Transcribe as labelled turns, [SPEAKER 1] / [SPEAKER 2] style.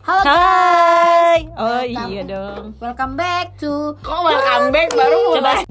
[SPEAKER 1] Halo guys.
[SPEAKER 2] Hai. Oh
[SPEAKER 1] Welcome.
[SPEAKER 2] iya dong.
[SPEAKER 1] Welcome back to
[SPEAKER 3] Kok welcome back baru
[SPEAKER 2] Coba
[SPEAKER 3] mulai?